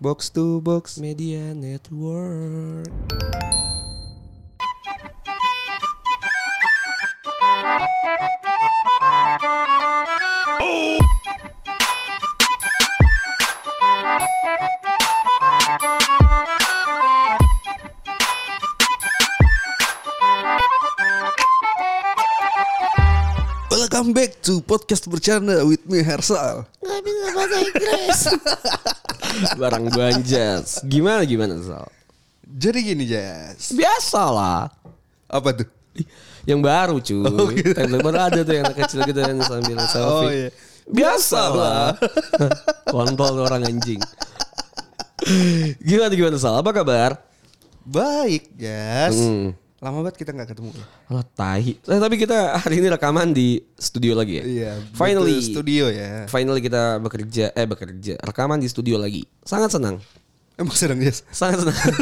Box to Box Media Network. Welcome back to podcast bercanda with me Hersal. Gak bisa bahasa Inggris. Barang banjas. Gimana gimana Sal? Jadi gini Jas, Biasalah. apa tuh? Yang baru cuy. Yang baru ada tuh yang anak kecil gitu yang sambil selfie. Oh, gitu. iya. Biasalah. Kontol tuh orang anjing. Gimana gimana Sal? Apa kabar? Baik Jas. Hmm. Lama banget kita nggak ketemu. ya? Alah tahi. Eh, tapi kita hari ini rekaman di studio lagi ya. Finally. Iya, betul, Studio ya. Finally kita bekerja eh bekerja rekaman di studio lagi. Sangat senang. Emang sedang Jas. sangat senang.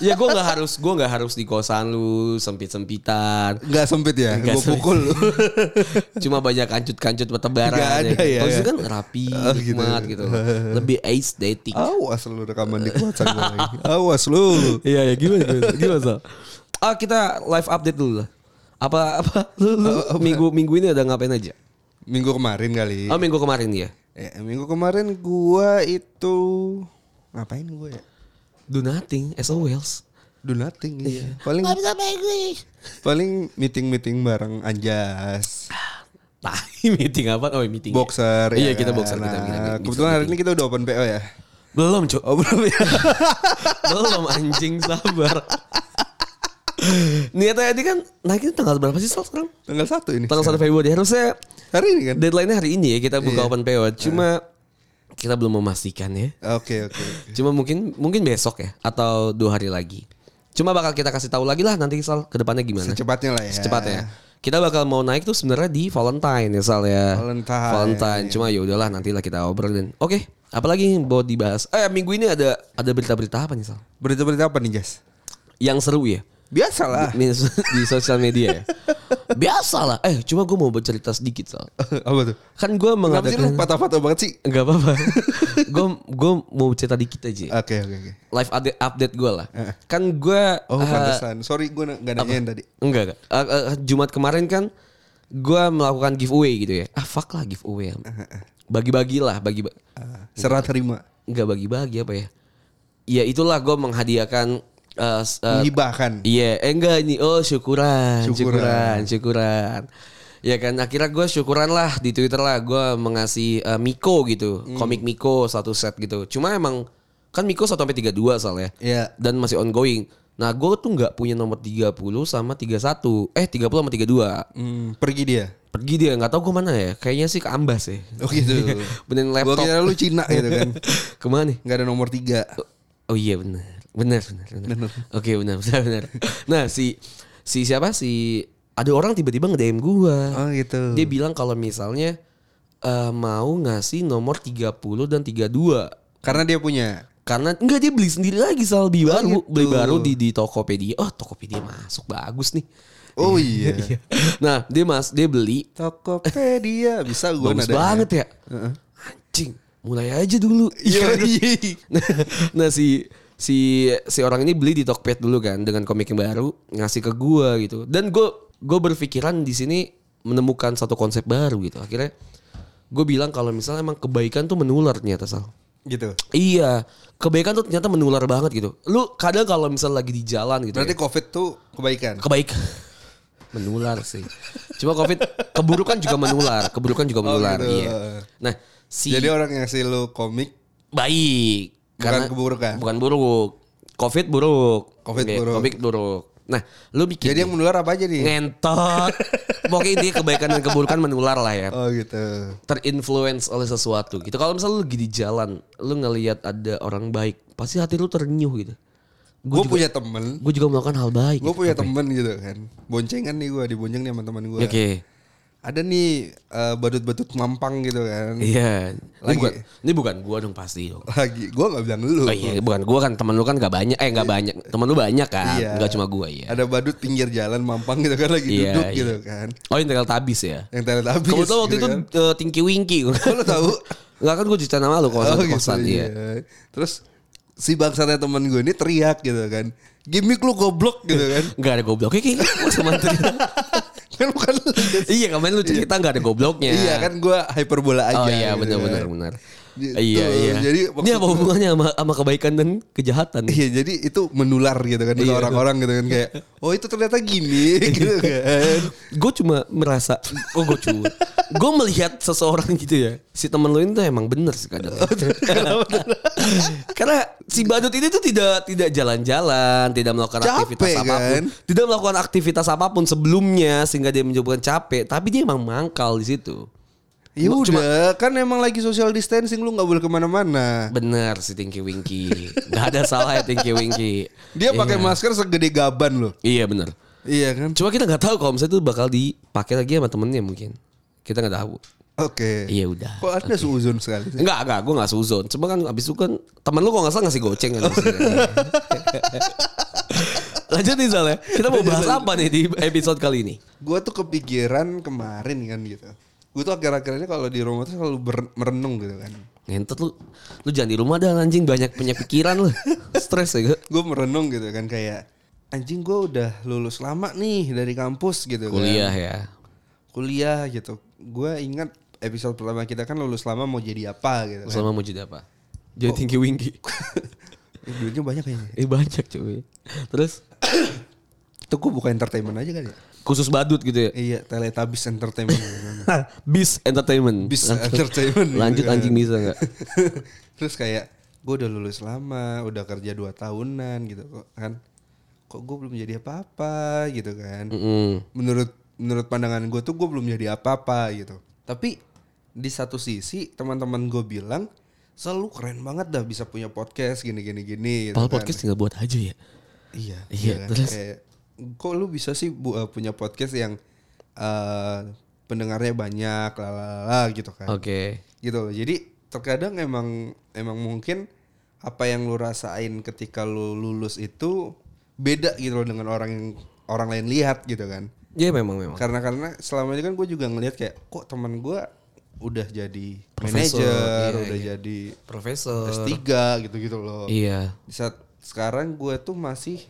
ya gue nggak harus gue nggak harus di kosan lu sempit sempitan. Gak sempit ya, Nggak gue sempit. pukul lu. Cuma banyak kancut-kancut bertebaran. Nggak ada ya. Kalau itu kan rapi, Oh, gitu. nikmat gitu. Lebih aesthetic. Awas lu rekaman di WhatsApp gua lagi. Awas lu. Iya ya gimana gimana, gimana Sal? Ah kita live update dulu lah. Apa Oh, apa lu, lu minggu minggu ini ada ngapain aja? Minggu kemarin kali. Oh minggu kemarin ya. Ya, minggu kemarin gua itu ngapain gua ya? Do nothing as always. Do nothing. Iya. Paling Gak bisa bahasa Inggris. paling meeting-meeting bareng Anjas. Tahi Nah, meeting apa? Oh meeting. ya. Boxer. Iya ya kita kan? boxer kita. gitu. Nah, kita- kita- kebetulan hari ini kita udah open PO ya. belum cok. Oh belum ya? Belum anjing sabar. Niatnya tadi kan naikin tanggal berapa sih Sal sekarang? Tanggal 1 ini. Tanggal 1 Februari harusnya Hari ini kan? deadline-nya hari ini ya kita buka Iya. open PO. Cuma kita belum memastikan ya. Oke oke. Cuma mungkin mungkin besok ya atau dua hari lagi. Cuma bakal kita kasih tahu lagi lah nanti Sal ke depannya gimana. Secepatnya lah ya. Secepatnya. Kita bakal mau naik tuh sebenarnya di Valentine ya Sal ya. Valentine. Valentine. Cuma ya udahlah nantilah kita obrolin. Oke, apalagi yang mau dibahas? Eh minggu ini ada ada berita-berita apa nih Sal? Berita-berita apa nih Jas? Yang seru ya? Biasalah. di, di sosial media ya. Biasa lah. Eh, cuma gue mau bercerita sedikit soal. apa tuh? Kan gue Kenapa sih lu mengadakan... patah-patah banget sih? Gak apa-apa. Gue gue mau cerita dikit aja. Oke oke oke. Live update, update gue lah. Kan gue... Eh. Oh pantesan. Sorry gue gak nanyain tadi. Enggak, enggak. Eh, eh, Jumat kemarin kan gue melakukan giveaway gitu ya. Ah, fuck lah giveaway. Bagi-bagilah, bagi... Serah Eh, terima. Enggak bagi-bagi apa ya. Ya itulah gue menghadiahkan... eh, s- eh, Menghibahkan. Iya, eh, enggak ini. Oh, syukuran, Syukuran. syukuran, syukuran. Ya kan akhirnya gue syukuran lah di Twitter lah gue mengasih eh, Miko gitu, komik Miko satu set gitu. Cuma emang kan Miko 1 sampai 32 soalnya Iya. dan masih ongoing. Nah, gue tuh nggak punya nomor 30 sama 31. Eh, 30 sama 32. Hmm, pergi dia. Pergi dia, nggak tahu gue mana ya. Kayaknya sih ke Ambas ya. Oh gitu. Benerin Gue laptop. kira lu Cina gitu kan. Kemana nih? Gak ada nomor tiga. Oh iya benar. Benar, benar, benar. Oke, benar, benar, benar. Nah, si si siapa si ada orang tiba-tiba nge-DM gua. Oh gitu. Dia bilang kalau misalnya eh, mau ngasih nomor 30 dan 32 Karena dia punya. karena enggak dia beli sendiri lagi soal di baru, gitu. beli baru di di Tokopedia. Oh, Tokopedia masuk bagus nih. Oh iya. Nah, dia Mas, dia beli Tokopedia bisa gue bagus banget ya. Anjing, mulai aja dulu. Iya. iya. nah si si si orang ini beli di Tokped dulu kan dengan komik yang baru ngasih ke gua gitu dan gue gue berpikiran di sini menemukan satu konsep baru gitu akhirnya gue bilang kalau misalnya emang kebaikan tuh menular ternyata sal Gitu. iya kebaikan tuh ternyata menular banget gitu lu kadang kalau misalnya lagi di jalan gitu Berarti covid tuh kebaikan. kebaikan menular sih cuma covid keburukan juga menular keburukan juga menular gitu. iya nah si Jadi orang yang ngasih lu komik baik Bukan keburukan. bukan buruk covid buruk Covid Oke, buruk. covid buruk nah lu bikin Jadi yang menular apa aja Iya. nih? ngentot pokoknya intinya kebaikan dan keburukan menular lah ya Oh gitu. terinfluence oleh sesuatu gitu kalau misalnya lu lagi di jalan lu ngelihat ada orang baik pasti hati lu ternyuh gitu Gue punya temen. gue juga melakukan hal baik Gue gitu. punya temen gitu kan. Boncengan nih gue. Dibonceng nih sama temen gue. oke Ada nih eh, badut-badut mampang gitu kan. iya ini Lagi. bukan ini bukan gua dong pasti dong Lagi. Gue gak bilang lu. Oh iya, bukan gua kan teman lu kan gak banyak, eh gak banyak, teman lu banyak kan, Iya. nggak cuma gua ya. Ada badut pinggir jalan mampang gitu kan. Lagi Iya, duduk iya. gitu kan. Oh yang tabis ya. Yang telet habis. Kebetulan waktu gitu itu kan. eh, Tinky Winky. Kok lu tahu? Enggak kan gue cerita nama lu kalau Oh, satu gitu, kosan iya. iya. Terus si bangsatnya temen gue ini teriak gitu kan. Gimik lu goblok gitu kan. Enggak ada gobloknya kayaknya iya, gua cuma cerita. kan bukan lu. iya kemarin lu cerita enggak ada gobloknya. Iya kan gue hyperbola aja. Oh iya gitu benar benar kan. benar. Gitu. Iya iya. Jadi ini apa maksud- hubungannya sama, sama kebaikan dan kejahatan? Iya jadi itu menular gitu kan ke Iya. orang-orang gitu kan kayak oh itu ternyata gini gitu kan. gue cuma merasa, oh gue cuma, gue melihat seseorang gitu ya, si temen lu ini tuh emang bener sih kadang. Oh, Karena si badut ini tuh tidak tidak jalan-jalan, tidak melakukan Capek, aktivitas apapun, kan? tidak melakukan aktivitas apapun sebelumnya sehingga dia menyebabkan capek, tapi dia emang mangkal di situ. Ya Cuma- udah kan emang lagi social distancing lu nggak boleh kemana-mana. Bener si Tinky Winky, nggak ada salah ya Tinky Winky. Dia Iya. pakai masker segede gaban loh. Iya bener. Iya kan. Cuma kita nggak tahu kalau misalnya itu bakal dipakai lagi sama temennya mungkin. Kita nggak tahu. Oke. Iya udah. Kok anda seuzon sekali? sih? Enggak, enggak, gue gak suzon. Cuma kan abis itu kan temen lu kok gak salah ngasih goceng kan. Lanjut nih Zal ya. Kita mau bahas apa nih di episode kali ini? Gue tuh kepikiran kemarin kan gitu. Gue tuh akhir-akhir ini kalau di rumah tuh selalu ber- merenung gitu kan. Ngentot lu. Lu jangan di rumah dah anjing banyak punya pikiran lu. Stres ya gue. Gue merenung gitu kan kayak anjing gue udah lulus lama nih dari kampus gitu kan. Kuliah ya. kuliah gitu. Gue ingat episode pertama kita kan lulus lama mau jadi apa gitu. Kan. Selama mau jadi apa? Jadi tinggi winggi. Eh, duitnya banyak kayaknya. eh banyak cuy. Terus Itu gue buka entertainment aja kali ya. khusus badut gitu ya. Iya, Teletubbies Entertainment. gitu kan. Bis entertainment. Iya. Bis Entertainment. gitu Lanjut kan. anjing bisa nggak? Terus kayak gue udah lulus lama, udah kerja 2 tahunan gitu kok kan. Kok gue belum jadi apa-apa gitu kan. Mm-mm. Menurut menurut pandangan gue tuh gue belum jadi apa-apa gitu. Tapi di satu sisi teman-teman gue bilang selalu keren banget dah bisa punya podcast gini gini gini gitu Pal kan. podcast tinggal buat aja ya. Iya. Iya, kan? terus? Kayak, kok lu bisa sih bu, eh, punya podcast yang eh, pendengarnya banyak lalala gitu kan. Oke. Gitu loh. Jadi terkadang emang emang mungkin apa yang lu rasain ketika lu lulus itu beda gitu loh dengan orang yang orang lain lihat gitu kan. Ya memang memang. Karena karena selama ini kan gue juga ngelihat kayak kok teman gue udah jadi Profesor, manajer, iya, udah iya. jadi Profesor. S3 gitu-gitu gitu loh. Iya. Di saat sekarang gue tuh masih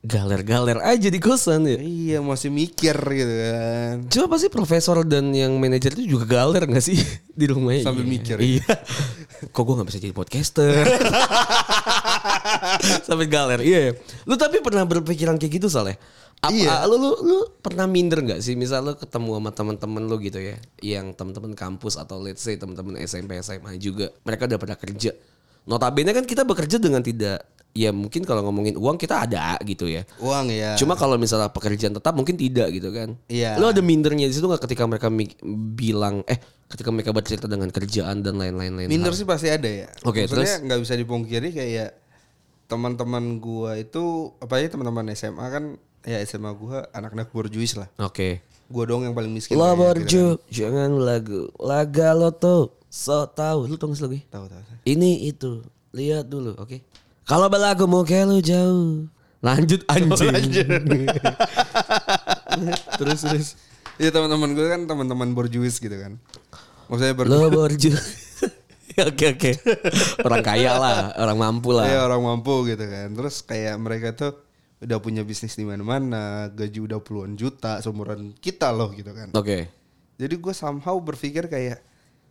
Galer-galer aja di kosan ya. Iya masih mikir gitu kan. Cuma pasti profesor dan yang manajer itu juga galer gak sih di rumahnya? Sambil mikir. Iya. Kok gue gak bisa jadi podcaster? Sampai galer. Iya. Lu tapi pernah berpikiran kayak gitu Saleh? Apa, Iya. Lu, lu, lu pernah minder gak sih? Misal lu ketemu sama teman-teman lu gitu ya. Yang teman-teman kampus atau let's say teman-teman SMP, SMA juga. Mereka udah pada kerja. Notabene kan kita bekerja dengan tidak... Ya mungkin kalau ngomongin uang kita ada gitu ya. Uang ya. Cuma kalau misalnya pekerjaan tetap mungkin tidak gitu kan. Iya. Lo ada mindernya di situ nggak ketika mereka mi- bilang eh ketika mereka bercerita dengan kerjaan dan lain-lain lain. minder hal? sih pasti ada ya. Oke, Maksudnya nggak bisa dipungkiri kayak teman-teman gua itu apa ya teman-teman SMA kan ya SMA gua anak-anak borjuis lah. Oke. Gua dong yang paling miskin. Lo kayaknya, gitu kan. borju, jangan lagu laga lo tuh so tahu lu tunggu lagi. Tahu tahu. tahu. ya? Ini itu lihat dulu, oke. Kalau belagu mau kayak lu jauh. Lanjut Oh, anjing. terus terus. Iya teman-teman gua kan teman-teman borjuis gitu kan. Maksudnya ber Lo borju. Oke oke. Orang kaya lah, orang mampu lah. Iya, orang mampu gitu kan. Terus kayak mereka tuh udah punya bisnis di mana-mana, gaji udah puluhan juta seumuran kita loh gitu kan. Oke. Jadi gue somehow berpikir kayak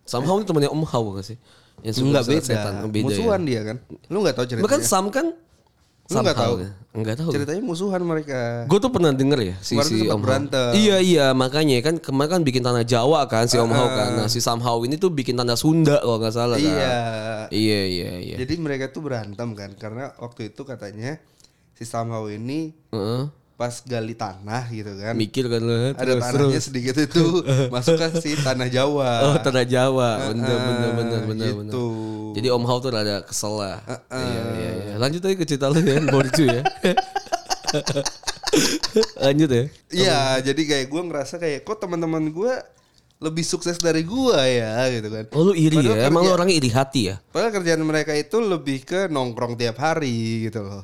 Somehow ini temennya Om Hao gak sih? Yang suka Enggak sama beda. setan. Oh, beda musuhan ya. dia kan. Lu nggak tahu ceritanya. Bahkan Sam kan ya? Lu nggak tahu? Enggak tahu. ceritanya musuhan mereka. Gue tuh pernah denger ya si, Kemarin si sempat Om Hao. berantem. Iya iya makanya kan kemarin kan bikin tanah Jawa kan si Om Hao kan. Nah si Sam Hao ini tuh bikin tanah Sunda kalau nggak salah kan. Ah, Iya. Iya iya iya. Jadi mereka tuh berantem kan karena waktu itu katanya si Samhau ini Heeh. pas gali tanah gitu kan. Mikir kan lu. ada terus, terus. tanahnya sedikit itu masuk ke si tanah Oh Jawa. tanah Jawa. Bener bener bener bener. Ah, gitu. Ah, bener. Jadi Om Hao tuh rada kesel lah. Iya iya iya. Lanjut aja ke cerita lu ya Borju ya. Lanjut ya. Iya, jadi kayak gue ngerasa kayak kok teman-teman gue lebih sukses dari gue ya gitu kan. Oh lu iri Padahal ya? Emang lu kerja- orangnya iri hati ya? Padahal kerjaan mereka itu lebih ke nongkrong tiap hari gitu loh.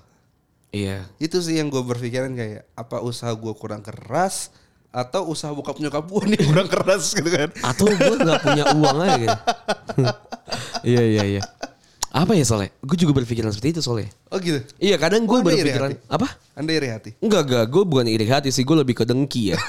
Iya. Itu sih yang gue berpikiran kayak apa usaha gue kurang keras, atau usaha bokap nyokap gue nih kurang keras gitu kan Atau gue gak punya uang aja gitu. Iya, iya, iya. Apa ya Soleh? Gue juga berpikiran seperti itu Soleh. oh gitu Iya kadang gue Oh, ada iri berpikiran. hati? Apa? anda iri hati Enggak, enggak. Gue bukan iri hati sih. Gue lebih ke dengki ya.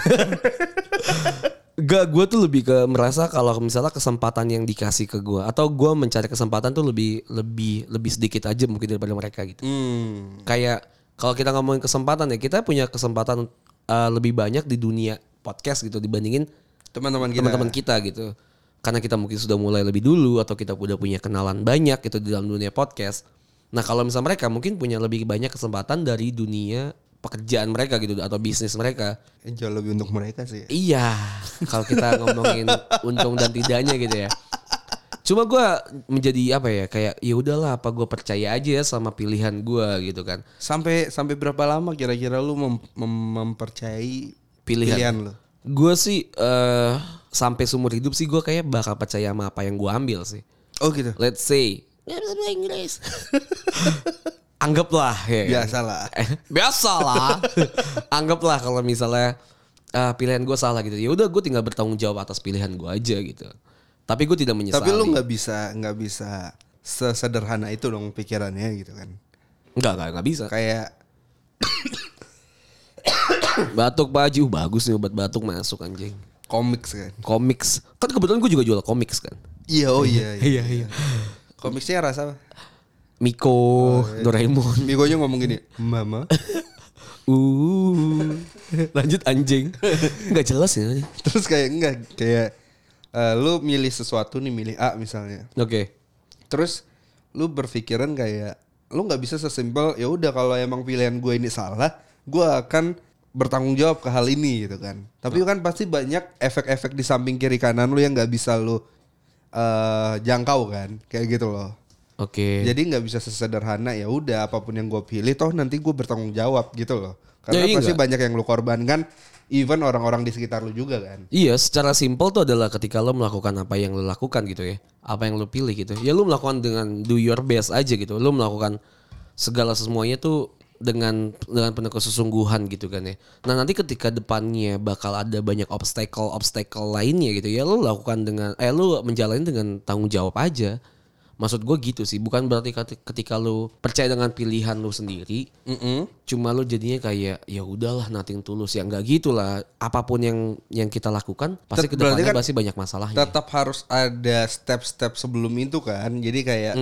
Enggak, gue tuh lebih ke merasa kalau misalnya kesempatan yang dikasih ke gue. Atau gue mencari kesempatan tuh lebih lebih lebih sedikit aja mungkin daripada mereka gitu. hmm Kayak kalau kita ngomongin kesempatan ya. Kita punya kesempatan eh, lebih banyak di dunia podcast gitu. Dibandingin teman-teman kita teman-teman kita gitu. Karena kita mungkin sudah mulai lebih dulu. Atau kita udah punya kenalan banyak gitu di dalam dunia podcast. Nah kalau misalnya mereka mungkin punya lebih banyak kesempatan dari dunia pekerjaan mereka gitu atau bisnis mereka Eh, jauh lebih untuk mereka sih Iya, kalau kita ngomongin untung dan tidaknya gitu ya. Cuma gua menjadi apa ya kayak ya udahlah apa gue percaya aja ya sama pilihan gua gitu kan. sampai sampai berapa lama kira-kira lu mem- mem- mempercayai Pilihan. lu Gue sih eh sampai seumur hidup sih gua kayak bakal percaya sama apa yang gua ambil sih. oh gitu Let's say Dia bisa bahasa Inggris. anggaplah ya. kan? biasalah Eh, biasalah anggaplah kalau misalnya eh, pilihan gua salah gitu ya udah gue tinggal bertanggung jawab atas pilihan gua aja gitu tapi gue tidak menyesali tapi lu nggak bisa nggak bisa sesederhana itu dong pikirannya gitu kan nggak nggak nggak bisa kayak Batuk Pak Haji, Uh, bagus nih obat batuk masuk anjing. komiks kan Komiks. Kan kebetulan gue juga jual komiks kan. iya oh iya iya, komiksnya rasa apa? Miko, Oh, iya. Doraemon. Migonya ngomong gini mama Uh. Lanjut anjing. Nggak jelas ya. Oke. terus kayak enggak kayak eh, lu milih sesuatu nih milih A misalnya terus lu berpikiran kayak lu nggak bisa sesimpel ya udah kalau emang pilihan gue ini salah gue akan bertanggung jawab ke hal ini gitu kan tapi kan pasti banyak efek-efek di samping kiri kanan lu yang nggak bisa lu eh, jangkau kan kayak gitu loh Oke. jadi nggak bisa sesederhana ya udah apapun yang gue pilih toh nanti gue bertanggung jawab gitu loh Ya, karena iya pasti nggak? banyak yang lu korbankan even orang-orang di sekitar lu juga kan Iya, secara simpel tuh adalah ketika lo melakukan apa yang lo lakukan gitu ya. Apa yang lo pilih gitu. Ya lo melakukan dengan do your best aja gitu. Lo melakukan segala semuanya tuh dengan dengan penuh kesungguhan gitu kan ya. Nah nanti ketika depannya bakal ada banyak obstacle obstacle lainnya gitu ya lo lakukan dengan eh lo menjalani dengan tanggung jawab aja. Maksud gue gitu sih, bukan berarti kati- ketika lo percaya dengan pilihan lo sendiri, cuma lo jadinya kayak ya udahlah nothing tulus ya nggak gitu lah. Apapun yang yang kita lakukan pasti Tet- berarti kedepannya kan- pasti banyak masalahnya. tetap harus ada step-step sebelum itu kan jadi kayak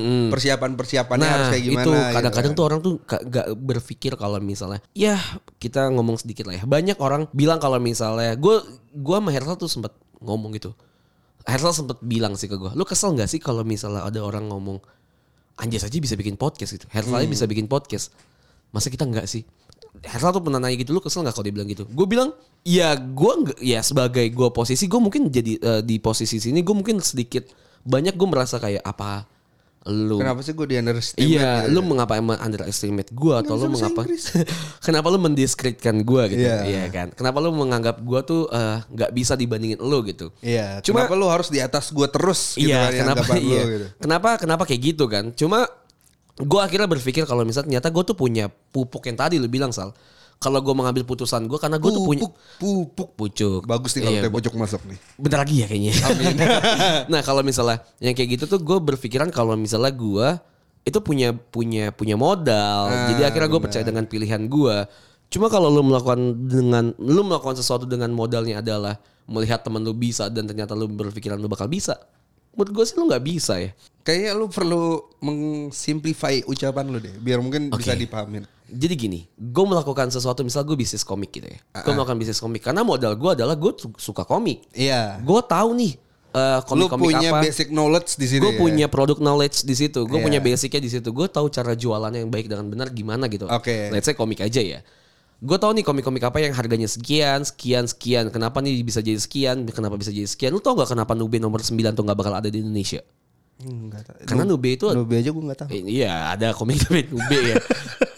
persiapan-persiapannya harus kayak gimana Nah, itu gitu kadang-kadang kan. tuh orang tuh gak, gak berpikir kalau misalnya ya kita ngomong sedikit lah ya banyak orang bilang kalau misalnya gue gue sama Hersal tuh sempat ngomong gitu Hersal sempat bilang sih ke gue lu kesel nggak sih kalau misalnya ada orang ngomong anjay saja bisa bikin podcast gitu Hersal Hmm. aja bisa bikin podcast masa kita nggak sih Hersal tuh pernah nanya gitu lu kesel nggak kalau dia bilang gitu gue bilang ya gue nggak ya sebagai gue posisi gue mungkin jadi eh, di posisi sini gue mungkin sedikit banyak gue merasa kayak apa lu kenapa sih gue di underestimate Iya, gitu lu ya? mengapa emang underestimate gua atau lu bisa bahasa mengapa? Inggris. kenapa lu mendiskreditkan gua gitu? Iya. Iya kan? Kenapa lu menganggap gua tuh eh, nggak bisa dibandingin lu gitu? iya Cuma- kenapa lu harus di atas gue terus gitu Iya, kan, kenapa? anggapan lu Iya. gitu. Kenapa? Kenapa kayak gitu kan? Cuma gua akhirnya berpikir kalau misalnya ternyata gua tuh punya pupuk yang tadi lu bilang Sal. Kalau gua mengambil putusan gua karena gua tuh punya pupuk pupuk pucuk. bagus nih kalau Iya, teh pucuk masuk nih bentar lagi ya kayaknya. nah kalau misalnya yang kayak gitu tuh gue berpikiran kalau misalnya gue itu punya punya punya modal. Jadi akhirnya gue percaya dengan pilihan gue. Cuma kalau lu melakukan dengan lu melakukan sesuatu dengan modalnya adalah melihat teman lu bisa dan ternyata lu berpikiran lu bakal bisa. Menurut gue sih lu nggak bisa ya. kayaknya lu perlu mengsimplify ucapan lu deh biar mungkin bisa dipahamin Jadi gini, gue melakukan sesuatu misal gue bisnis komik gitu ya. Gue melakukan bisnis komik karena modal gue adalah gue suka komik. iya Gue tahu nih eh, lu komik-komik punya apa. basic knowledge di sini gue ya? punya produk knowledge di situ gue Iya. punya basicnya di situ gue tahu cara jualannya yang baik dengan benar gimana gitu Oke. let's say komik aja ya gue tahu nih komik-komik apa yang harganya sekian sekian sekian kenapa nih bisa jadi sekian kenapa bisa jadi sekian lu tau gak kenapa Nube nomor 9 tuh gak bakal ada di Indonesia Enggak tahu. Karena Nube itu- Nube aja gue nggak tahu Eh, Kan iya ada komik tapi Nube ya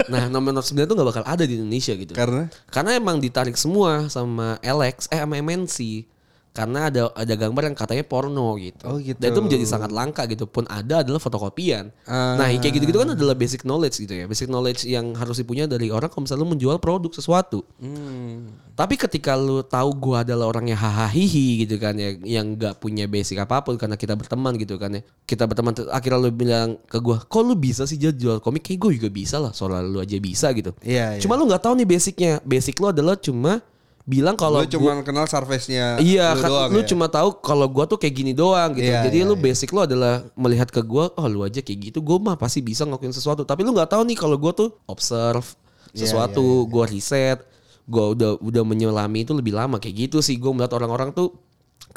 nah nomor 9 tuh gak bakal ada di Indonesia gitu karena karena emang ditarik semua sama Alex eh sama MNC karena ada ada gambar yang katanya porno gitu. Oh, gitu. Dan itu menjadi sangat langka gitu. Pun ada adalah fotokopian. Ah. Nah, kayak gitu-gitu kan adalah basic knowledge gitu ya. Basic knowledge yang harus dipunya dari orang kalau misalnya lu menjual produk sesuatu. Hmm, Tapi ketika lu tahu gua adalah orang yang hahahihi gitu kan ya yang nggak punya basic apapun karena kita berteman gitu kan ya. Kita berteman ter- akhirnya lu bilang ke gua, "Kok lu bisa sih jual, jual komik? Kayak gua juga bisa lah, soalnya lu aja bisa gitu." Iya, iya. Cuma lu nggak tahu nih basicnya. Basic lu adalah cuma bilang kalau Lu gua- cuma kenal surface-nya Iya, lu kan doang lu ya? cuma tahu kalau gua tuh kayak gini doang gitu. Iya, Jadi iya, lu basic lu adalah melihat ke gua, oh lu aja kayak gitu, gua mah pasti bisa ngelakuin sesuatu. Tapi lu nggak tahu nih kalau gua tuh observe Iya, sesuatu, gua riset, gua udah udah menyelami itu lebih lama kayak gitu sih. Gua melihat orang-orang tuh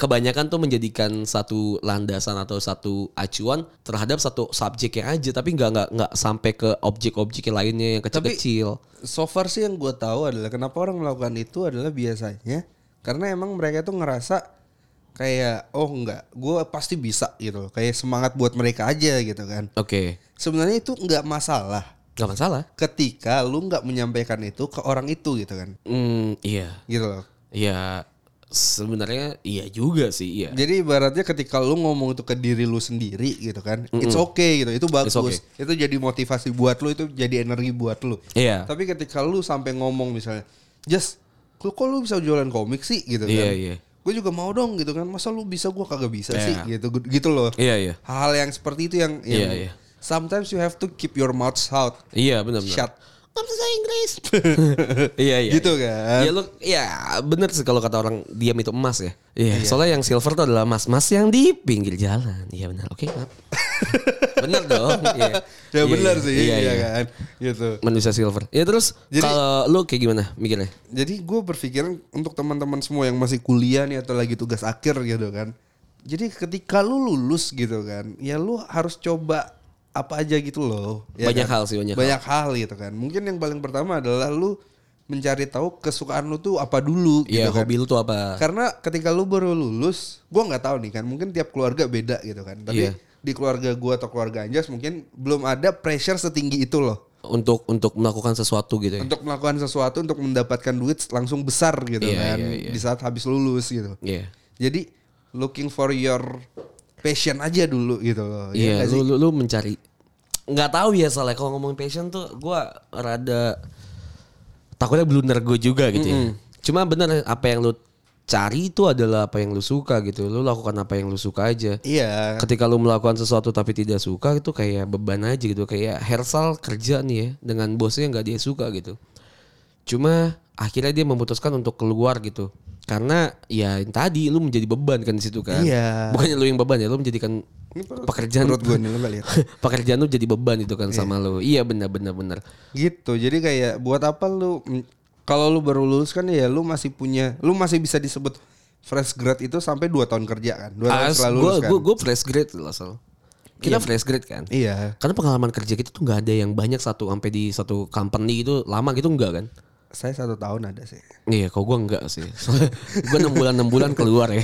kebanyakan tuh menjadikan satu landasan atau satu acuan terhadap satu subjeknya aja tapi nggak nggak nggak sampai ke objek-objek yang lainnya yang kecil-kecil. so far sih yang gue tahu adalah kenapa orang melakukan itu adalah biasanya karena emang mereka tuh ngerasa kayak oh enggak gue pasti bisa gitu loh. kayak semangat buat mereka aja gitu kan Oke, sebenarnya itu nggak masalah nggak masalah. ketika lu nggak menyampaikan itu ke orang itu gitu kan Hmm, iya. gitu loh Ya sebenarnya iya juga sih iya. jadi ibaratnya ketika lu ngomong itu ke diri lu sendiri gitu kan it's okay gitu itu bagus okay. itu jadi motivasi buat lu itu jadi energi buat lu Iya. Tapi ketika lu sampai ngomong misalnya, Just, kok, kok lu bisa jualan komik sih gitu kan? Iya, iya. Gue juga mau dong gitu kan. Masa lu bisa gua kagak bisa Iya. sih gitu gitu loh. Iya iya. Hal yang seperti itu yang, Iya, yang iya. sometimes you have to keep your mouth shut. Iya benar benar. Shut. Gak bisa Inggris. Iya iya. Gitu kan. Iya lu iya benar sih kalau kata orang diam itu emas ya. Iya. Soalnya yang silver itu adalah emas-emas yang di pinggir jalan. Iya benar. Oke, maaf. benar dong. Iya. Ya Iya, benar iya, sih Iya ya iya. kan. Gitu. Manusia silver. Ya terus Jadi- kalau lu kayak gimana mikirnya? Jadi gue berpikiran untuk teman-teman semua yang masih kuliah nih atau lagi tugas akhir gitu kan. Jadi ketika lu lulus gitu kan, ya lu harus coba apa aja gitu loh. ya Banyak kan? hal sih, banyak hal. gitu kan. Mungkin yang paling pertama adalah lu mencari tahu kesukaan lu tuh apa dulu Iya, gitu kan. hobi lu tuh apa? Karena ketika lu baru lulus, gua nggak tahu nih kan, mungkin tiap keluarga beda gitu kan. Tapi Iya. di keluarga gua atau keluarga Anjas mungkin belum ada pressure setinggi itu loh Untuk untuk melakukan sesuatu gitu ya. untuk melakukan sesuatu untuk mendapatkan duit langsung besar gitu Iya, kan iya, iya. di saat habis lulus gitu. Iya. Jadi looking for your passion aja dulu gitu loh. ya Iya, nggak lu, sih? lu lu mencari nggak tahu ya soalnya kalau ngomong passion tuh gua rada takutnya blunder gue juga gitu ya. Cuma bener apa yang lu cari itu adalah apa yang lu suka gitu. Lu lakukan apa yang lu suka aja. Iya. Ketika lu melakukan sesuatu tapi tidak suka itu kayak beban aja gitu. Kayak Hersal kerja nih ya dengan bosnya yang nggak dia suka gitu. Cuma akhirnya dia memutuskan untuk keluar gitu. Karena ya yang tadi lu menjadi beban kan di situ kan. Iya. Bukannya lu yang beban ya, lu menjadikan Ini perut- pekerjaan perut gua nih, lu nggak lihat. pekerjaan lu jadi beban itu kan sama lu. Iya benar benar benar. Gitu. Jadi kayak buat apa lu mm, kalau lu baru lulus kan ya lu masih punya lu masih bisa disebut fresh grad itu sampai 2 tahun kerja kan. 2 tahun As- setelah Gua lulus kan. gua gua fresh grade loh Sal. Kita fresh grade kan. Iya. Karena pengalaman kerja kita tuh nggak ada yang banyak satu sampai di satu company gitu lama gitu nggak kan? Saya satu tahun ada sih. Iya, kok gua enggak sih. gua 6 bulan 6 bulan keluar ya.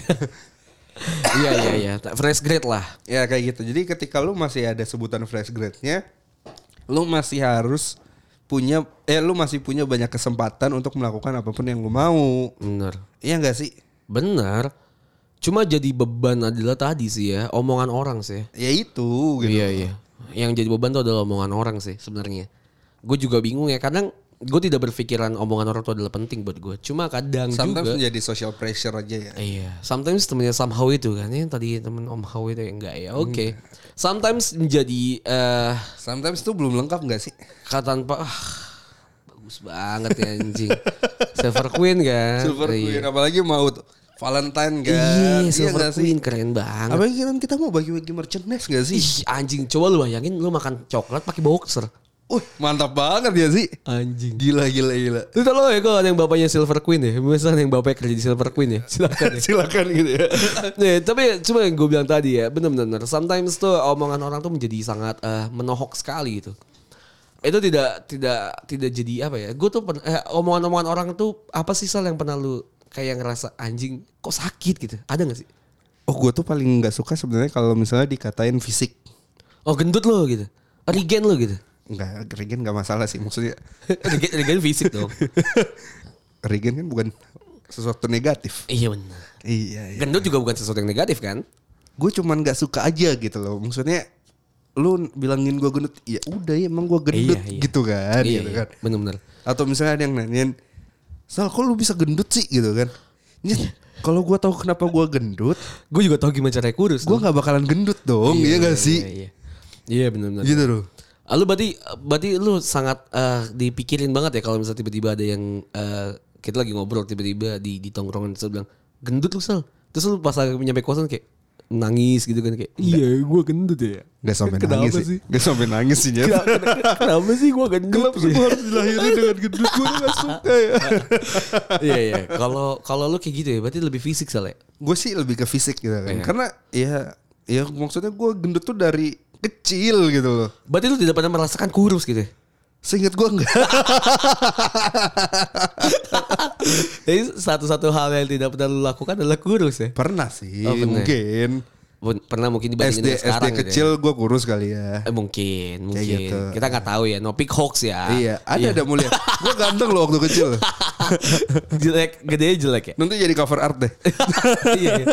Iya iya iya, fresh grade lah. Ya kayak gitu. Jadi ketika lu masih ada sebutan fresh grade-nya, lu masih harus punya eh lu masih punya banyak kesempatan untuk melakukan apapun yang lu mau. Bener. Iya enggak sih? Benar. Cuma jadi beban adalah tadi sih ya, omongan orang sih. Ya itu gitu. Iya iya. Yang jadi beban tuh adalah omongan orang sih sebenarnya. Gue juga bingung ya, kadang gue tidak berpikiran omongan orang itu adalah penting buat gue. Cuma kadang Iya, Sometimes juga menjadi social pressure aja ya. Iya, sometimes temennya somehow itu kan ya tadi temen Om How itu ya enggak ya. Oke. Sometimes menjadi eh Sometimes tuh belum lengkap enggak sih? kata tanpa ah, bagus banget ya anjing. Silver Queen kan. Silver Iya. Queen apalagi mau tuh Valentine kan. Iya, Silver nggak Queen keren banget. Apalagi kan kita mau bagi-bagi merchandise enggak sih? Ih, anjing coba lu bayangin lu makan coklat pakai boxer. Wih, mantap banget ya sih. Anjing. Gila gila gila. Lu tau lo ya kalau ada yang bapaknya Silver Queen ya Misalnya ada yang bapaknya kerja di Silver Queen ya Silahkan ya Silakan gitu ya. Nih, tapi cuma yang gue bilang tadi ya Bener-bener Sometimes tuh omongan orang tuh menjadi sangat eh, menohok sekali gitu Itu tidak tidak tidak jadi apa ya Gue tuh pern- eh, omongan-omongan orang tuh Apa sih Sal yang pernah lu kayak ngerasa anjing kok sakit gitu Ada gak sih? Oh, gue tuh paling nggak suka sebenarnya kalau misalnya dikatain fisik. Oh gendut lo gitu Regen lo gitu Enggak, Regen enggak masalah sih. Maksudnya Regen, regen fisik dong Regen kan bukan sesuatu negatif. Iya benar. Iya. iya. Gendut juga bukan sesuatu yang negatif kan? Gue cuman nggak suka aja gitu loh. Maksudnya lu bilangin gue gendut, ya udah ya emang gue gendut Iya, iya. gitu kan, iya, gitu iya. kan. Benar-benar. Atau misalnya ada yang nanyain, Sal kok lu bisa gendut sih gitu kan. Nyet, Kalau gue tahu kenapa gue gendut, Gue juga tahu gimana caranya kurus. gue nggak bakalan gendut dong, iya, gak sih? Iya, iya. Iya benar-benar. Gitu loh. Ah, Lu berarti berarti lu sangat eh, dipikirin banget ya kalau misalnya tiba-tiba ada yang eh, kita lagi ngobrol tiba-tiba di di tongkrongan terus bilang gendut lu sel. Terus lu pas lagi nyampe kosan kayak nangis gitu kan kayak iya gua gendut ya. Gak sampai Kenapa nangis sih. sih? Gak sampai nangis sih. Nyet. Kenapa sih gua gendut? ya? Kenapa sih gua harus dilahirin dengan gendut? Gue gak suka ya. Iya iya. Kalau kalau lu kayak gitu ya berarti lebih fisik sel ya. gue sih lebih ke fisik gitu Iya. kan. Karena ya ya maksudnya gue gendut tuh dari kecil gitu loh. Berarti lu tidak pernah merasakan kurus gitu ya. Seinget gue enggak. Jadi satu-satu hal yang tidak pernah lu lakukan adalah kurus ya. Pernah sih Oh, pernah. mungkin. Pun- Pernah mungkin dibandingin SD dengan SD sekarang gitu ya. kecil gue kurus kali ya. Eh, mungkin, mungkin. gitu. Kita nggak tahu ya. No pick hoax ya. Iya, ada ada mulia. Gue ganteng loh waktu kecil. jelek, gede jelek ya. Nanti jadi cover art deh. iya. iya.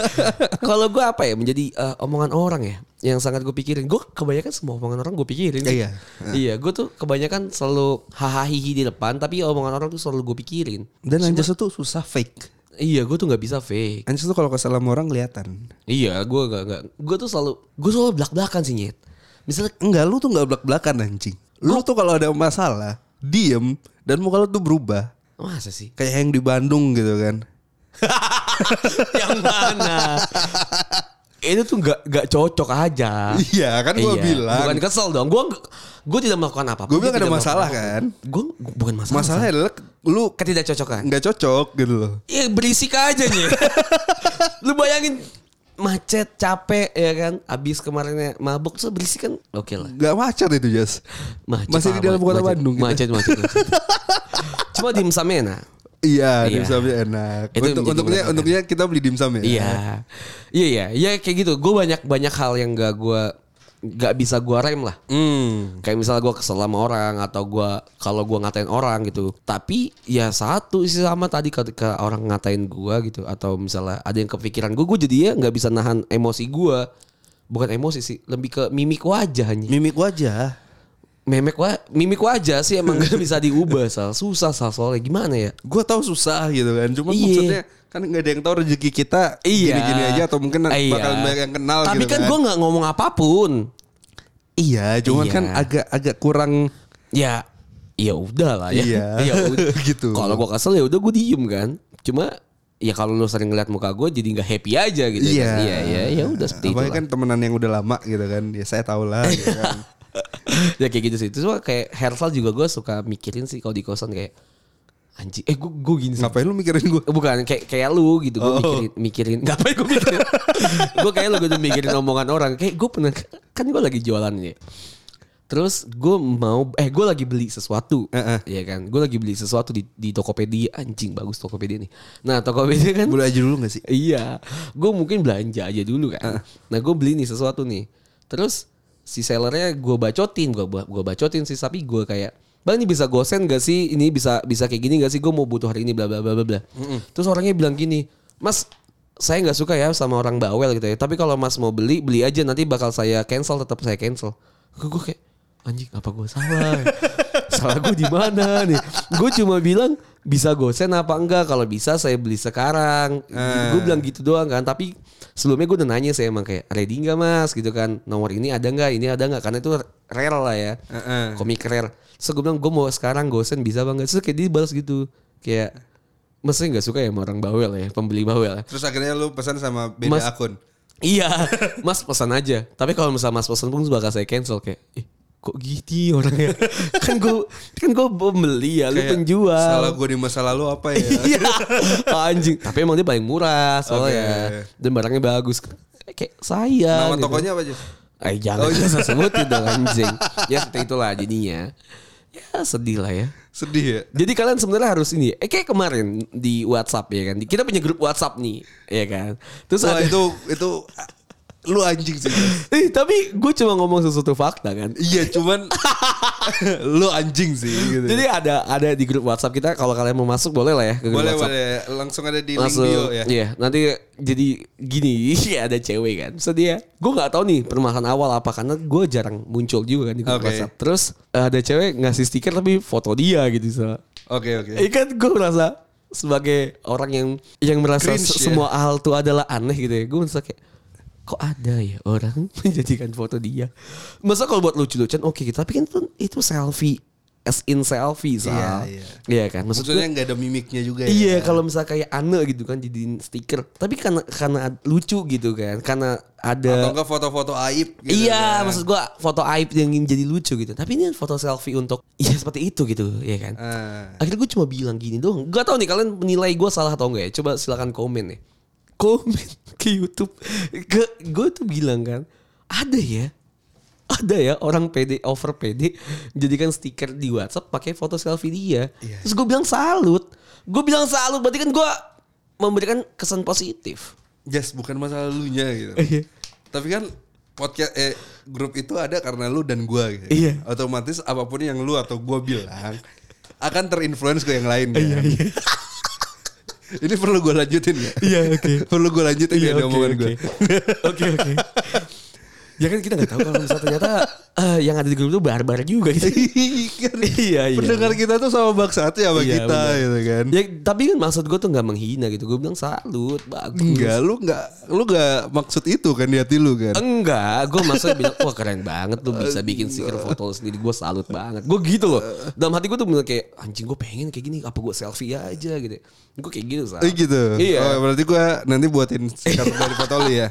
Kalau gue apa ya menjadi eh, omongan orang ya yang sangat gue pikirin. Gue kebanyakan semua omongan orang gue pikirin. sih. Iya, Iya. Gue tuh kebanyakan selalu hahaha di depan, tapi omongan orang tuh selalu gue pikirin. Dan Anjas tuh susah fake. Iya, gue tuh nggak bisa fake. Anjas tuh kalau kesal sama orang kelihatan. Iya, gue nggak nggak. Gue tuh selalu gue selalu belak belakan sih nyet. Misalnya Enggak, lu tuh enggak belak-belakan anjing. Lu tuh kalau ada masalah, diem dan muka lu tuh berubah. masa sih? Kayak yang di Bandung gitu kan. yang mana? Itu tuh gak, gak cocok aja. Iya, kan gua bilang. Bukan kesel dong. Gue gue tidak melakukan apa-apa. Gue bilang ada masalah kan. Gue bukan masalah. Masalahnya adalah lu Sam. ketidakcocokan. nggak cocok gitu loh. Iya berisik aja nih. Lu bayangin macet capek ya kan abis kemarinnya mabuk tuh berisik kan oke lah Gak macet itu Jas. Macet, Masih di Pak, dalam kota macet. Bandung. gitu. macet macet, macet. cuma dimsumnya enak Iya, Iya. dimsumnya enak. Itu Untuk, menjadi untuknya melegakan. untuknya kita beli dimsum ya. Iya. Iya iya, iya kayak gitu. Gue banyak banyak hal yang gak gue gak bisa gue rem lah. Hmm. Kayak misalnya gue kesel sama orang atau gue kalau gue ngatain orang gitu. Tapi ya satu sih sama tadi ketika orang ngatain gue gitu atau misalnya ada yang kepikiran gue, gue jadi ya nggak bisa nahan emosi gue. Bukan emosi sih, lebih ke mimik wajahnya. Mimik wajah. Memek wa mimik wajah sih emang gak bisa diubah sal. Susah sal soalnya gimana ya? Gue tahu susah gitu kan. Cuma Iya. maksudnya kan nggak ada yang tahu rezeki kita Iya. gini-gini aja atau mungkin Iya. bakalan banyak yang kenal Tapi gitu kan, gue nggak ngomong apapun. Iya, cuman Iya. kan agak agak kurang ya ya udah lah ya Iya. Ya udah. Gitu. kalau gua kesel ya udah gue diem kan cuma ya kalau lu sering ngeliat muka gue jadi nggak happy aja gitu ya kan. iya iya ya udah seperti Iya. itu Apalagi kan temenan yang udah lama gitu kan. Ya saya tahu lah gitu kan. ya kayak gitu sih terus gua kayak Hersal juga gue suka mikirin sih kalau di kosan kayak anjing eh gue gue gini sih Ngapain lu mikirin gue? Eh, bukan kayak kayak lu gitu gue Oh. mikirin mikirin ngapain gue mikirin gue kayak lu gue tuh mikirin omongan orang kayak gue pernah kan gue lagi jualan ya terus gue mau eh gue lagi beli sesuatu Heeh. ya kan gue lagi beli sesuatu di di tokopedia anjing bagus tokopedia nih nah tokopedia kan Boleh aja dulu gak sih? Iya, gue mungkin belanja aja dulu kan. Nah gue beli nih sesuatu nih. Terus si sellernya gue bacotin, gue gua bacotin sih. Tapi gue kayak, bang ini bisa gosen gak sih? Ini bisa bisa kayak gini gak sih? Gue mau butuh hari ini bla bla bla bla bla. Terus orangnya bilang gini, mas saya nggak suka ya sama orang bawel gitu ya. Tapi kalau mas mau beli beli aja nanti bakal saya cancel, tetap saya cancel. Gue kayak anjing apa gue salah? salah gue di mana nih? Gue cuma bilang bisa gosen apa enggak? Kalau bisa saya beli sekarang. Gue bilang gitu doang kan. Tapi sebelumnya gue udah nanya saya emang kayak ready nggak mas gitu kan? Nomor ini ada nggak? Ini ada nggak? Karena itu rare lah ya. Heeh. Komik rare. Terus gue bilang gue mau sekarang gosen bisa banget. Terus kayak dia balas gitu kayak Maksudnya nggak suka ya sama orang bawel ya, pembeli bawel ya. Terus akhirnya lu pesan sama beda Mas- akun. Iya, Mas pesan aja. Tapi kalau misalnya Mas pesan pun bakal saya cancel kayak, ih kok gitu orangnya. kan gue kan gue pembeli ya, lu Kayak, penjual. Salah gue di masa lalu apa ya? Iya, anjing. Tapi emang dia paling murah soalnya Oke. dan barangnya bagus. Eh, Kayak saya. gitu. Nama tokonya apa aja? Eh jangan Oh, iya. saya sebutin dong anjing. Ya seperti itulah jadinya. Ya sedih lah ya. Sedih ya. Jadi kalian sebenarnya harus ini. Eh kayak kemarin di WhatsApp ya kan. Kita punya grup WhatsApp nih, ya kan. Terus Wah ada- itu itu Lu anjing sih. Jas. Ih, tapi gue cuma ngomong sesuatu fakta kan. Iya cuman lu anjing sih gitu. Jadi ada ada di grup WhatsApp kita kalau kalian mau masuk boleh lah ya ke grup boleh WhatsApp. boleh langsung ada di link Langsung, bio ya. Iya, nanti jadi gini, ya ada cewek kan. So dia, gue nggak tahu nih permasalahan awal apa karena gue jarang muncul juga kan di grup Oke. WhatsApp. Terus eh, ada cewek ngasih stiker tapi foto dia gitu. So. Oke oke. Eh kan gue merasa sebagai orang yang yang merasa Cringe, se- ya? semua hal itu adalah aneh gitu ya. Gue merasa kayak kok ada ya orang menjadikan foto dia. Masa kalau buat lucu-lucuan oke gitu, tapi kan itu, itu selfie as in selfie Sal. Iya, iya. Iya kan maksud Maksudnya gua- nggak ada mimiknya juga Iya ya. kalau misalnya kayak Ane gitu kan jadiin stiker. Tapi karena karena lucu gitu kan. Karena Atau ada enggak foto-foto aib gitu. Iya, kan. maksud gua foto aib yang jadi lucu gitu. Tapi ini kan foto selfie untuk ya seperti itu gitu, ya kan? Ah. Akhirnya gue cuma bilang gini doang. Gak tau nih kalian menilai gue salah atau enggak ya. Coba silakan komen nih. Komen ke YouTube. Gue tuh bilang kan. Ada ya. Ada ya orang PD over PD jadikan stiker di WhatsApp pakai foto selfie dia. Iya. Terus gue bilang salut. Gue bilang salut berarti kan gue memberikan kesan positif. Jas bukan masalah lu nya gitu. Iya. Tapi kan podcast eh grup itu ada karena lu dan gua gitu. Iya. Otomatis apapun yang lu atau gua bilang akan terinfluence ke yang lain Iya, kan. Ini perlu gua lanjutin ya. Iya, oke. perlu gua lanjutin ya di omongan gua. Iya, Oke oke. Ya kan kita nggak tahu kalau misalnya ternyata eh, yang ada di grup itu barbar juga gitu. iya iya. Pendengar kita tuh sama bangsat ya sama Iya, kita benar. gitu kan. Ya, tapi kan maksud gue tuh nggak menghina gitu. Gue bilang salut, bagus. Enggak, lu enggak lu enggak maksud itu kan di hati lu kan. Enggak, gue maksudnya bilang, wah keren banget tuh bisa bikin stiker foto lu sendiri. Gue salut banget. Gue gitu loh. Dalam hati gue tuh bener kayak, anjing gue pengen kayak gini. Apa gue selfie aja gitu. Gue kayak gitu, Sal. Eh gitu. Iya. Oh, berarti gua nanti buatin stiker dari foto lu ya.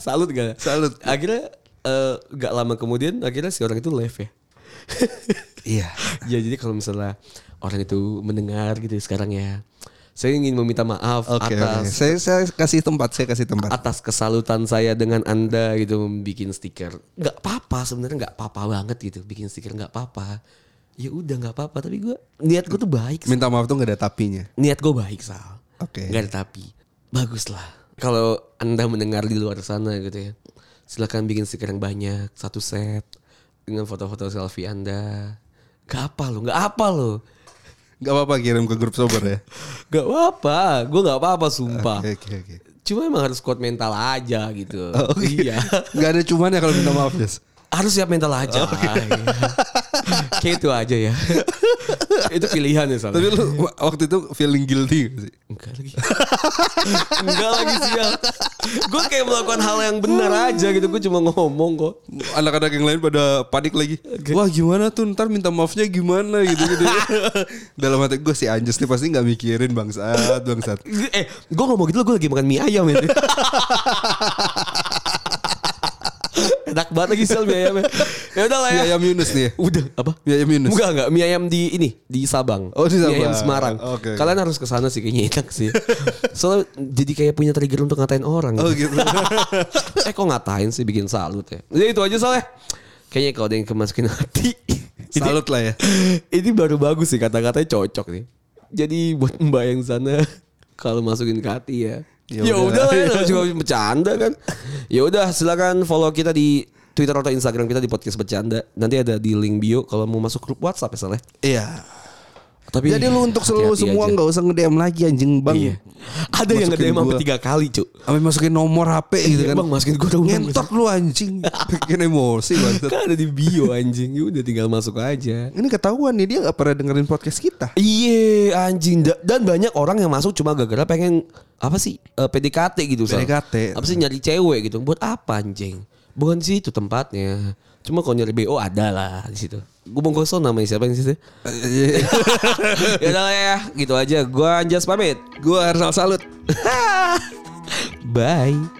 salut gak? Salut. Akhirnya, eh, nggak lama kemudian, akhirnya si orang itu live ya. Iya. ya jadi kalau misalnya orang itu mendengar gitu sekarang ya. Saya ingin meminta maaf Oke, oke. atas Saya saya kasih tempat, saya kasih tempat. atas kesalutan saya dengan anda gitu bikin stiker nggak apa-apa sebenarnya nggak apa-apa banget gitu bikin stiker nggak apa-apa ya udah nggak apa-apa tapi gue niat gue tuh baik Minta maaf tuh nggak ada tapinya. niat gue baik sal Oke. nggak ada tapi bagus lah kalau anda mendengar di luar sana gitu ya silakan bikin stiker yang banyak satu set dengan foto-foto selfie anda nggak apa lo nggak apa lo Gak apa-apa kirim ke grup sober ya. nggak apa gue nggak apa-apa sumpah Oke oke oke. cuma emang harus kuat mental aja gitu Oh, oke. iya Gak ada cuman ya kalau minta maaf Jas. harus siap mental aja. Iya. Kayak itu aja ya. itu pilihan ya soalnya. Tapi lu wa- waktu itu feeling guilty gak sih? Enggak lagi. Enggak lagi sial. Gue kayak melakukan hal yang benar aja gitu. Gue cuma ngomong kok. Anak-anak yang lain pada panik lagi. Wah gimana tuh ntar minta maafnya gimana gitu gitu. Dalam hati gue si Anjas nih pasti nggak mikirin bangsat bangsat. Eh, gue ngomong gitu gue lagi makan mie ayam ya. Enak banget lagi sial mie ayamnya. Ya udah lah Mie ya. ayam Yunus nih. ya? Udah apa? Mie ayam Yunus. Enggak enggak mie ayam di ini di Sabang. Oh, di Sabang. Mie ayam Semarang. Oke, oke. Kalian harus ke sana sih kayaknya enak sih. Soalnya jadi kayak punya trigger untuk ngatain orang. Oh gitu. eh kok ngatain sih bikin salut ya. Jadi itu aja soalnya. Kayaknya kalau ada yang kemasukin hati. ini- Salut lah ya. Ini baru bagus sih kata-katanya cocok nih. Jadi buat mbak yang sana kalau masukin ke hati ya. Ya Ya udah. udah lah ya, namanya juga bercanda kan. Ya udah silakan follow kita di Twitter atau Instagram kita di podcast bercanda. Nanti ada di link bio kalau mau masuk grup WhatsApp ya Saleh. Iya. Tapi Jadi lu untuk selalu hati-hati semua aja. nggak usah nge-DM lagi anjing bang. Iya. Ada yang Masukin nge-DM sampai gua. tiga kali, Cuk. Sampai masukin nomor HP gitu Iya, kan. Bang, masukin gua dong, Bang. Ngentot lu anjing. Bikin emosi bangsat. Kan ada di bio anjing. Ya udah tinggal masuk aja. Ini ketahuan nih dia gak pernah dengerin podcast kita. Iya anjing Da- dan banyak orang yang masuk cuma gara-gara pengen apa sih eh, PDKT gitu Sal. PDKT. apa sih nyari cewek gitu buat apa anjing bukan sih itu tempatnya cuma kalau nyari BO ada lah di situ gue mau kosong namanya siapa yang situ ya udah lah ya gitu aja gue Anjas pamit Gue Arnal Salut. bye